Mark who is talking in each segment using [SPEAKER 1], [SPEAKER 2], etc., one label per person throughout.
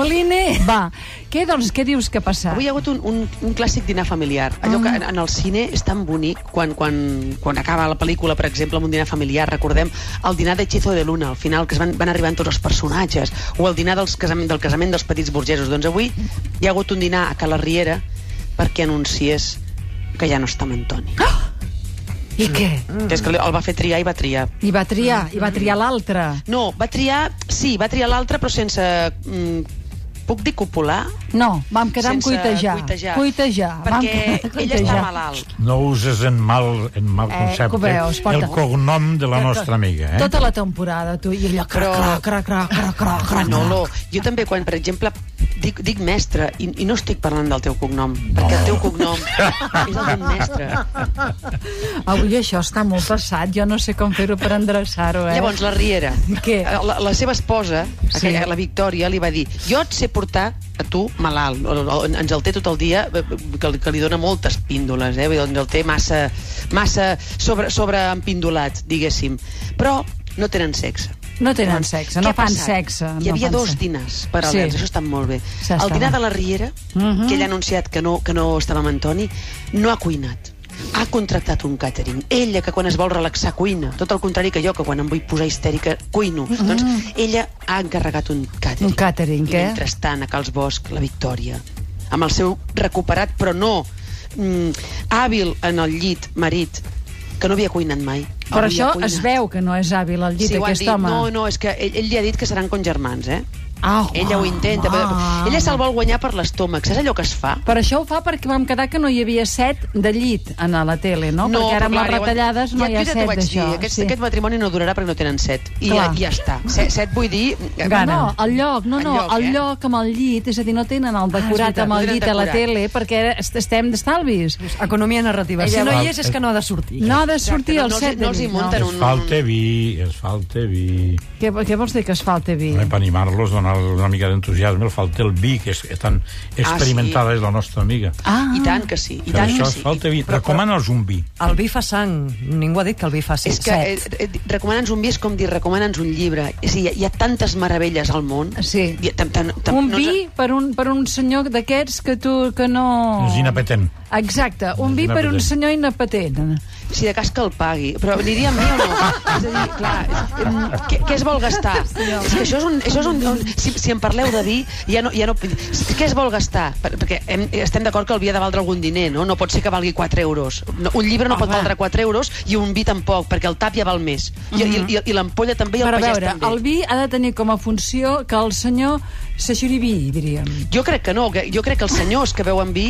[SPEAKER 1] Moliner, va. Què, doncs, què dius que ha passat?
[SPEAKER 2] Avui hi ha hagut un, un, un clàssic dinar familiar. Allò que en, en el cine és tan bonic quan, quan, quan acaba la pel·lícula, per exemple, amb un dinar familiar. Recordem el dinar de Hechizo de Luna, al final, que es van, van arribant tots els personatges, o el dinar dels casament, del casament dels petits burgesos. Doncs avui hi ha hagut un dinar a Cala Riera perquè anunciés que ja no està amb Antoni. Ah!
[SPEAKER 1] I què?
[SPEAKER 2] Que és que el va fer triar i va triar.
[SPEAKER 1] I va triar, i va triar l'altre.
[SPEAKER 2] No, va triar... Sí, va triar l'altre, però sense... Mm, puc dir copular?
[SPEAKER 1] No, vam quedar amb
[SPEAKER 2] Sense
[SPEAKER 1] cuitejar.
[SPEAKER 2] cuitejar.
[SPEAKER 1] Cuitejar. vam
[SPEAKER 2] Perquè
[SPEAKER 1] quedar amb
[SPEAKER 2] ell està
[SPEAKER 1] cuitejar.
[SPEAKER 2] malalt.
[SPEAKER 3] No uses en mal, en mal
[SPEAKER 1] Eh,
[SPEAKER 3] concepte
[SPEAKER 1] que ho veus, porta.
[SPEAKER 3] el cognom de la nostra amiga. Eh?
[SPEAKER 1] Tota la temporada, tu, i allò... Però...
[SPEAKER 2] Però-
[SPEAKER 1] Crac, crac, crac, crac, crac, crac,
[SPEAKER 2] Manolo, jo també quan, per exemple, dic, dic mestre, i, i no estic parlant del teu cognom, perquè el teu cognom és el d'un mestre.
[SPEAKER 1] Avui això està molt passat, jo no sé com fer-ho per endreçar-ho, eh?
[SPEAKER 2] Llavors, la Riera, eh,
[SPEAKER 1] Què?
[SPEAKER 2] La, la seva esposa,
[SPEAKER 1] Sí.
[SPEAKER 2] aquella, la Victòria, li va dir jo et sé portar a tu malalt. O- o- Ens el té tot el dia, eh, que, li- que li dona moltes píndoles, eh? Vull dir, Ens el té massa, massa sobre, sobre empindolats, diguéssim. Però no tenen sexe.
[SPEAKER 1] No tenen sexe, no
[SPEAKER 2] Què ha
[SPEAKER 1] fan
[SPEAKER 2] passat?
[SPEAKER 1] sexe.
[SPEAKER 2] Hi
[SPEAKER 1] no
[SPEAKER 2] havia
[SPEAKER 1] fan
[SPEAKER 2] dos
[SPEAKER 1] sexe.
[SPEAKER 2] dinars
[SPEAKER 1] Sí.
[SPEAKER 2] paral·lels, sí. això està molt bé.
[SPEAKER 1] Ja
[SPEAKER 2] el
[SPEAKER 1] estava.
[SPEAKER 2] dinar de la Riera,
[SPEAKER 1] Mhm.
[SPEAKER 2] que ell ha anunciat que no, que no estava amb Antoni, no ha cuinat. Ha contractat un càtering. Ella, que quan es vol relaxar, cuina. Tot el contrari que jo, que quan em vull posar histèrica, cuino. Doncs ella ha encarregat un càtering.
[SPEAKER 1] Mhm. Un càtering,
[SPEAKER 2] I
[SPEAKER 1] què?
[SPEAKER 2] Mentrestant, a Cals Bosch, la Victòria, amb el seu recuperat, però no mm, hàbil en el llit, marit, que no havia cuinat mai.
[SPEAKER 1] Però
[SPEAKER 2] Avui ha
[SPEAKER 1] això
[SPEAKER 2] cuinat.
[SPEAKER 1] es veu que no és hàbil al llit,
[SPEAKER 2] Sí, ho han
[SPEAKER 1] aquest
[SPEAKER 2] dit.
[SPEAKER 1] home.
[SPEAKER 2] No, no, és que ell, ell li ha dit que seran congermans, eh?
[SPEAKER 1] Ah,
[SPEAKER 2] Ella ho intenta, però... Ella se'l vol guanyar per l'estómac, saps allò que es fa?
[SPEAKER 1] Però això ho fa perquè vam quedar que no hi havia set de llit en la tele, no? perquè ara
[SPEAKER 2] però
[SPEAKER 1] amb les
[SPEAKER 2] clar, llavors-
[SPEAKER 1] retallades no
[SPEAKER 2] ja,
[SPEAKER 1] hi ha
[SPEAKER 2] jo ja t'ho
[SPEAKER 1] set
[SPEAKER 2] vaig
[SPEAKER 1] d'això.
[SPEAKER 2] dir, Aquest, sí. aquest matrimoni no durarà perquè no tenen set. I,
[SPEAKER 1] Clar.
[SPEAKER 2] ja, i ja està. Set, set vull dir... eh,
[SPEAKER 1] Gana. No, el lloc, no,
[SPEAKER 2] El
[SPEAKER 1] no, el lloc,
[SPEAKER 2] lloc, eh?
[SPEAKER 1] amb el llit, és a dir, no tenen el decorat
[SPEAKER 4] Ah, veritat,
[SPEAKER 1] amb el
[SPEAKER 2] no tenen
[SPEAKER 1] llit a la
[SPEAKER 2] decorat.
[SPEAKER 1] tele perquè ara est- estem d'estalvis.
[SPEAKER 4] Economia narrativa. Si no hi és, és que no ha de sortir.
[SPEAKER 1] No ha de
[SPEAKER 2] Exacte,
[SPEAKER 1] sortir
[SPEAKER 2] no,
[SPEAKER 1] el
[SPEAKER 2] no els-
[SPEAKER 1] set de
[SPEAKER 2] no els hi
[SPEAKER 1] llit,
[SPEAKER 2] munten
[SPEAKER 3] Es
[SPEAKER 2] un-
[SPEAKER 3] falta vi, es falta vi. eh,
[SPEAKER 1] Què, què vols dir que es falta vi?
[SPEAKER 3] Per animar-los, donar una mica d'entusiasme, el falta el vi, que és tan experimentada és la nostra amiga.
[SPEAKER 1] Ah,
[SPEAKER 2] I tant que sí, Ah, i
[SPEAKER 3] Per
[SPEAKER 2] tant
[SPEAKER 3] això
[SPEAKER 2] que
[SPEAKER 3] es
[SPEAKER 2] sí.
[SPEAKER 3] falta vi. Recomana'ls un vi.
[SPEAKER 4] El vi fa sang. Ningú ha dit que el vi fa
[SPEAKER 2] És que eh, eh, recomana'ns un vi és com dir recomana'ns un llibre. És a dir, hi ha, hi ha tantes meravelles al món.
[SPEAKER 1] eh, Sí.
[SPEAKER 2] Hi ha, tan, tan, tan,
[SPEAKER 1] un
[SPEAKER 2] no ens-
[SPEAKER 1] vi per un, per un senyor d'aquests que tu que
[SPEAKER 2] Oh.
[SPEAKER 1] no...
[SPEAKER 3] És inapetent.
[SPEAKER 1] Exacte, un
[SPEAKER 3] És
[SPEAKER 1] vi per un
[SPEAKER 3] inapetent.
[SPEAKER 1] senyor inapetent.
[SPEAKER 2] Si de cas que el pagui. Però aniria amb mi o no? És
[SPEAKER 4] Ah,
[SPEAKER 2] a dir, clar, mm, què, què es vol gastar? És que això és un... Això és un, un si, si em parleu de vi, ja no... Ja no si- què es vol gastar? Per, perquè hem, estem d'acord que el vi ha de valdre algun diner, no? No pot ser que valgui 4 euros. No, un llibre no pot
[SPEAKER 1] Home.
[SPEAKER 2] valdre 4 euros i un vi tampoc, perquè el tap ja val més. I, i, i, i l'ampolla també i el
[SPEAKER 1] Però a
[SPEAKER 2] pagès
[SPEAKER 1] Mhm. veure,
[SPEAKER 2] també.
[SPEAKER 1] el vi ha de tenir com a funció que el senyor s'aixurivi, diríem.
[SPEAKER 2] Jo crec que no, que jo crec que els senyors que veuen vi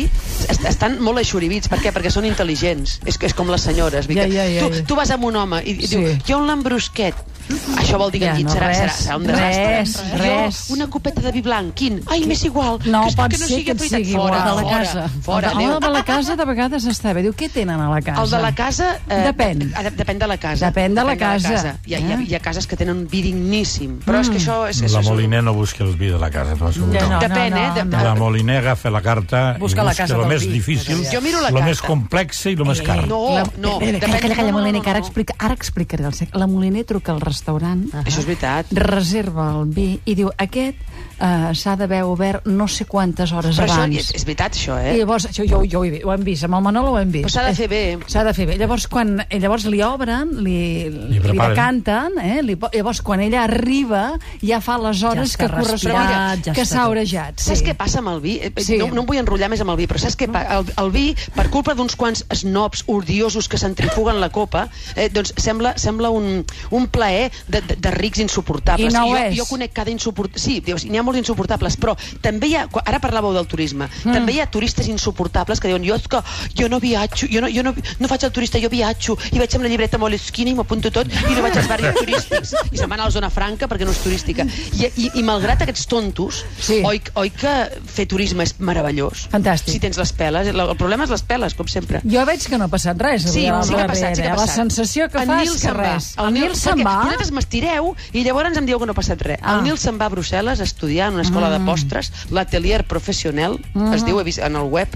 [SPEAKER 2] est estan molt aixoribits. Per què? Perquè són intel·ligents. És, és com les senyores. Vic.
[SPEAKER 1] Ja, ja, ja, ja.
[SPEAKER 2] Tu, tu vas amb un home i, i
[SPEAKER 1] Sí.
[SPEAKER 2] sí. diu, jo un lambrusquet. Això vol dir que
[SPEAKER 1] Ja,
[SPEAKER 2] ja,
[SPEAKER 1] no,
[SPEAKER 2] no, serà,
[SPEAKER 1] res,
[SPEAKER 2] serà, serà un
[SPEAKER 1] res,
[SPEAKER 2] desastre.
[SPEAKER 1] res.
[SPEAKER 2] Jo, una copeta de vi blanc, quin? Ai, m'és igual.
[SPEAKER 1] No,
[SPEAKER 2] és
[SPEAKER 1] pot ser que et
[SPEAKER 2] veritat.
[SPEAKER 1] sigui
[SPEAKER 2] fora,
[SPEAKER 1] igual.
[SPEAKER 4] de la
[SPEAKER 2] fora,
[SPEAKER 4] casa.
[SPEAKER 2] Fora,
[SPEAKER 1] el
[SPEAKER 2] adéu.
[SPEAKER 1] de la casa de vegades està bé. Diu, què tenen a la casa?
[SPEAKER 2] El de la casa... eh,
[SPEAKER 1] Depèn.
[SPEAKER 2] de- de- depèn de la casa.
[SPEAKER 1] Depèn de la casa.
[SPEAKER 2] Hi, ha, hi, ha,
[SPEAKER 1] Eh? Mm.
[SPEAKER 2] hi ha cases que tenen un vi digníssim. Però és que això... És, és,
[SPEAKER 3] La
[SPEAKER 2] és un-
[SPEAKER 3] Moliner no busca el vi de la casa, t'ho asseguro.
[SPEAKER 1] Ja, no,
[SPEAKER 2] Depèn,
[SPEAKER 1] no, no,
[SPEAKER 2] eh? Depèn.
[SPEAKER 1] no.
[SPEAKER 3] La Moliner agafa la carta
[SPEAKER 4] Busca
[SPEAKER 3] i
[SPEAKER 4] la
[SPEAKER 3] busca
[SPEAKER 4] casa
[SPEAKER 3] el
[SPEAKER 4] del
[SPEAKER 3] més
[SPEAKER 4] vi.
[SPEAKER 3] difícil,
[SPEAKER 2] Jo miro la
[SPEAKER 3] el
[SPEAKER 2] carta. Eh,
[SPEAKER 3] més complex i el més car.
[SPEAKER 2] No, no.
[SPEAKER 1] Calla,
[SPEAKER 2] depèn-
[SPEAKER 1] calla, calla,
[SPEAKER 2] no, no,
[SPEAKER 1] Moliner,
[SPEAKER 2] no,
[SPEAKER 1] que ara,
[SPEAKER 2] no.
[SPEAKER 1] explica, ara explicaré el sec. La Moliner truca al restaurant,
[SPEAKER 2] Això és veritat.
[SPEAKER 1] reserva el vi i diu, aquest eh, s'ha d'haver obert no sé quantes hores
[SPEAKER 2] Però això
[SPEAKER 1] abans.
[SPEAKER 2] és, és veritat, això, eh?
[SPEAKER 1] I llavors, això jo, jo ho, he, vi- ho hem vist, amb el Manolo ho hem vist.
[SPEAKER 2] Però s'ha de fer bé.
[SPEAKER 1] S'ha de fer bé. Llavors, quan, eh, llavors li obren, li, li,
[SPEAKER 3] preparen.
[SPEAKER 1] decanten, eh? li, po- llavors quan ella arriba ja fa les hores
[SPEAKER 4] està
[SPEAKER 1] que correspon,
[SPEAKER 4] respirat, ja
[SPEAKER 1] que
[SPEAKER 4] està
[SPEAKER 1] s'ha
[SPEAKER 4] tot.
[SPEAKER 1] orejat.
[SPEAKER 2] Sí. Saps què passa amb el vi? Eh, eh,
[SPEAKER 1] Sí.
[SPEAKER 2] No, no em vull enrotllar més amb el vi, però saps què? pa- El, el vi, per culpa d'uns quants snobs ordiosos que centrifuguen la copa, eh, doncs sembla, sembla un, un plaer de, de, de rics insuportables.
[SPEAKER 1] I no ho
[SPEAKER 2] jo,
[SPEAKER 1] és.
[SPEAKER 2] jo conec cada insuportable... Sí, dius, n'hi ha molts insuportables, però també hi ha... quan- Ara parlàveu del turisme. Mm. També hi ha turistes insuportables que diuen jo, és que jo no viatjo, jo no, jo no, no faig el turista, jo viatjo, i vaig amb la llibreta molt esquina i m'apunto tot, i no vaig als barris turístics, i se'n van a la zona franca perquè no és turística. I, i, i malgrat aquests tontos,
[SPEAKER 1] Sí.
[SPEAKER 2] sí. oi, oi que fer turisme és meravellós?
[SPEAKER 1] Fantàstic.
[SPEAKER 2] Si tens les peles, la- el problema és les peles, com sempre.
[SPEAKER 1] Jo veig que no ha passat res.
[SPEAKER 2] Sí,
[SPEAKER 1] avui a la
[SPEAKER 2] sí que ha
[SPEAKER 1] Barrera,
[SPEAKER 2] passat, sí que ha
[SPEAKER 1] eh?
[SPEAKER 2] passat.
[SPEAKER 1] La sensació que
[SPEAKER 2] En
[SPEAKER 1] fa
[SPEAKER 2] Nil
[SPEAKER 1] és que
[SPEAKER 2] se'n va.
[SPEAKER 1] res.
[SPEAKER 2] El
[SPEAKER 1] El
[SPEAKER 2] Nil-
[SPEAKER 1] Nil se'n
[SPEAKER 2] perquè
[SPEAKER 1] va.
[SPEAKER 2] vosaltres m'estireu i llavors em dieu que no ha passat res. Ah. El Nil se'n va a Brussel·les a estudiar en una escola mm. de postres, l'atelier professional, mm. es diu, he vist en el web.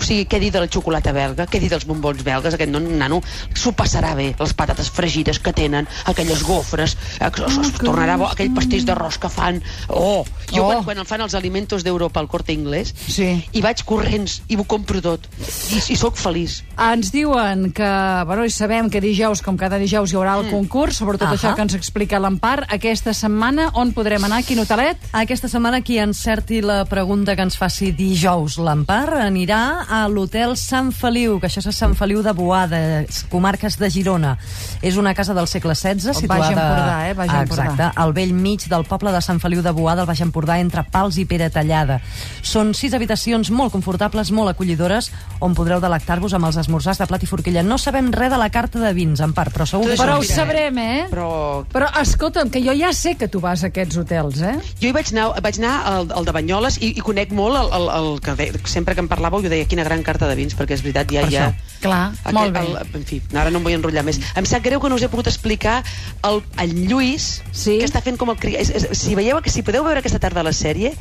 [SPEAKER 2] O sigui, què dir de la xocolata belga, què dir dels bombons belgues, aquest non, nano s'ho passarà bé, les patates fregides que tenen, aquelles gofres,
[SPEAKER 1] Ah,
[SPEAKER 2] eh, que es, es tornarà bo, aquell pastís d'arròs que fan. Oh! Jo
[SPEAKER 1] Oh.
[SPEAKER 2] quan, quan el fan els alimentos d'Europa al Corte Inglés,
[SPEAKER 1] Sí.
[SPEAKER 2] i vaig corrents i m'ho compro tot. I, i sóc feliç.
[SPEAKER 1] Ens diuen que, bueno, i sabem que dijous, com cada dijous, hi
[SPEAKER 2] Mm.
[SPEAKER 1] haurà el concurs, sobretot
[SPEAKER 4] Ahà.
[SPEAKER 1] això que ens explica l'Empar. Aquesta setmana, on podrem anar? Quin hotelet?
[SPEAKER 4] Aquesta setmana qui encerti la pregunta que ens faci dijous l'Empar anirà a l'hotel Sant Feliu, que això és a Sant Feliu de Boades, comarques de Girona. És una casa del segle XVI
[SPEAKER 1] Baix
[SPEAKER 4] situada...
[SPEAKER 1] Empordà, eh? Baix Empordà.
[SPEAKER 4] Exacte, al vell mig del poble de Sant Feliu de Boada, al Baix Empordà, entre Pals i Pere Tallada. Són sis habitacions molt confortables, molt acollidores, on podreu delectar-vos amb els esmorzars de plat i forquilla. No sabem res de la carta de vins, en part, però segur que...
[SPEAKER 1] Però ho
[SPEAKER 2] mira,
[SPEAKER 1] sabrem, eh?
[SPEAKER 2] però-
[SPEAKER 1] Però escolta'm, que jo ja sé que tu vas a aquests hotels, eh?
[SPEAKER 2] Jo hi vaig anar, vaig anar al, al de Banyoles i, i conec molt el, el, el que de, sempre que en parlàveu jo deia quina gran carta de vins, perquè és veritat, ja... ja
[SPEAKER 1] Clar, molt bé.
[SPEAKER 2] El, en fi, ara no em vull enrotllar més. Em sap greu que no us he pogut explicar el, el Lluís,
[SPEAKER 1] Sí.
[SPEAKER 2] que està fent com el... cri- És, és, si veieu, que si podeu veure aquesta tarda la sèrie,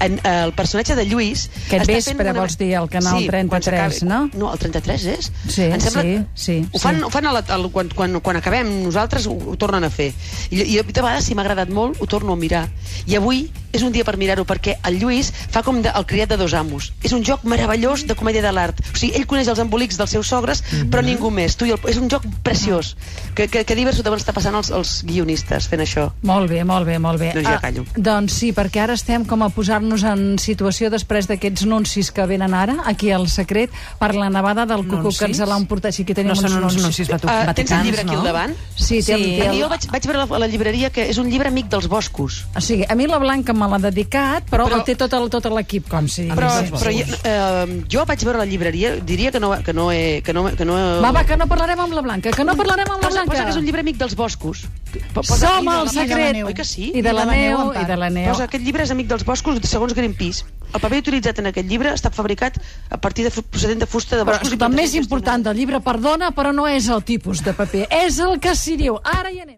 [SPEAKER 2] en, eh, el personatge de Lluís...
[SPEAKER 1] Aquest
[SPEAKER 2] està
[SPEAKER 1] vespre,
[SPEAKER 2] fent
[SPEAKER 1] vols dir, al canal
[SPEAKER 2] sí, quan
[SPEAKER 1] 33,
[SPEAKER 2] s'acabi-
[SPEAKER 1] no?
[SPEAKER 2] No, el 33 és?
[SPEAKER 1] Sí,
[SPEAKER 2] Em sembla-
[SPEAKER 1] sí, sí,
[SPEAKER 2] Ho fan,
[SPEAKER 1] sí.
[SPEAKER 2] ho fan a la, al, quan, quan, quan acabem nosaltres ho, ho tornen a fer i, i de vegades si m'ha agradat molt ho torno a mirar i avui és un dia per mirar-ho perquè el Lluís fa com de, el criat de dos amos és un joc meravellós de comèdia de l'art o sigui, ell coneix els embolics dels seus sogres
[SPEAKER 1] Mhm.
[SPEAKER 2] però ningú més, tu i el, és un joc preciós que, que, que divers ho deuen estar passant els, els guionistes fent això
[SPEAKER 1] Molt bé, molt bé, molt bé.
[SPEAKER 2] Doncs ja callo.
[SPEAKER 1] Ah, doncs sí, perquè ara estem com a posar-nos en situació després d'aquests anuncis que venen ara, aquí al secret, per la nevada del cucu que ens
[SPEAKER 4] Anuncis?
[SPEAKER 1] l'han portat. Sí, aquí tenim
[SPEAKER 4] No són uns
[SPEAKER 1] anuncis.
[SPEAKER 4] anuncis vatu-
[SPEAKER 2] Ah, tens el
[SPEAKER 4] vaticans,
[SPEAKER 2] llibre aquí
[SPEAKER 4] no?
[SPEAKER 2] al davant?
[SPEAKER 1] Sí, té,
[SPEAKER 4] Sí.
[SPEAKER 1] sí. té
[SPEAKER 2] I jo
[SPEAKER 1] el...
[SPEAKER 2] vaig, vaig veure a la, a la llibreria que és un llibre amic dels boscos
[SPEAKER 1] O sigui, a mi la Blanca me l'ha dedicat, però,
[SPEAKER 2] Però-
[SPEAKER 1] però... el té tot el- tot l'equip, com si...
[SPEAKER 2] però,
[SPEAKER 1] Sí.
[SPEAKER 2] però jo, eh, jo vaig veure la llibreria diria que no, que no, he, que no, que no
[SPEAKER 1] Va, va, que no parlarem amb la Blanca, que no parlarem amb la
[SPEAKER 2] Posa,
[SPEAKER 1] Blanca.
[SPEAKER 2] posa que és un llibre amic dels boscos. Po- posa-
[SPEAKER 1] Som
[SPEAKER 2] i de la-
[SPEAKER 1] el
[SPEAKER 2] I de la
[SPEAKER 1] secret.
[SPEAKER 2] neu, Oi que sí?
[SPEAKER 1] I de la neu, i de la neu.
[SPEAKER 2] Posa, aquest llibre és amic dels boscos, segons Greenpeace. El paper utilitzat en aquest llibre ha estat fabricat a partir de fu- procedent de fusta de
[SPEAKER 1] Però
[SPEAKER 2] boscos... i
[SPEAKER 1] escolta, el més
[SPEAKER 2] plantacions
[SPEAKER 1] important del llibre, perdona, però no és el tipus de paper, és el que s'hi diu. Ara hi anem.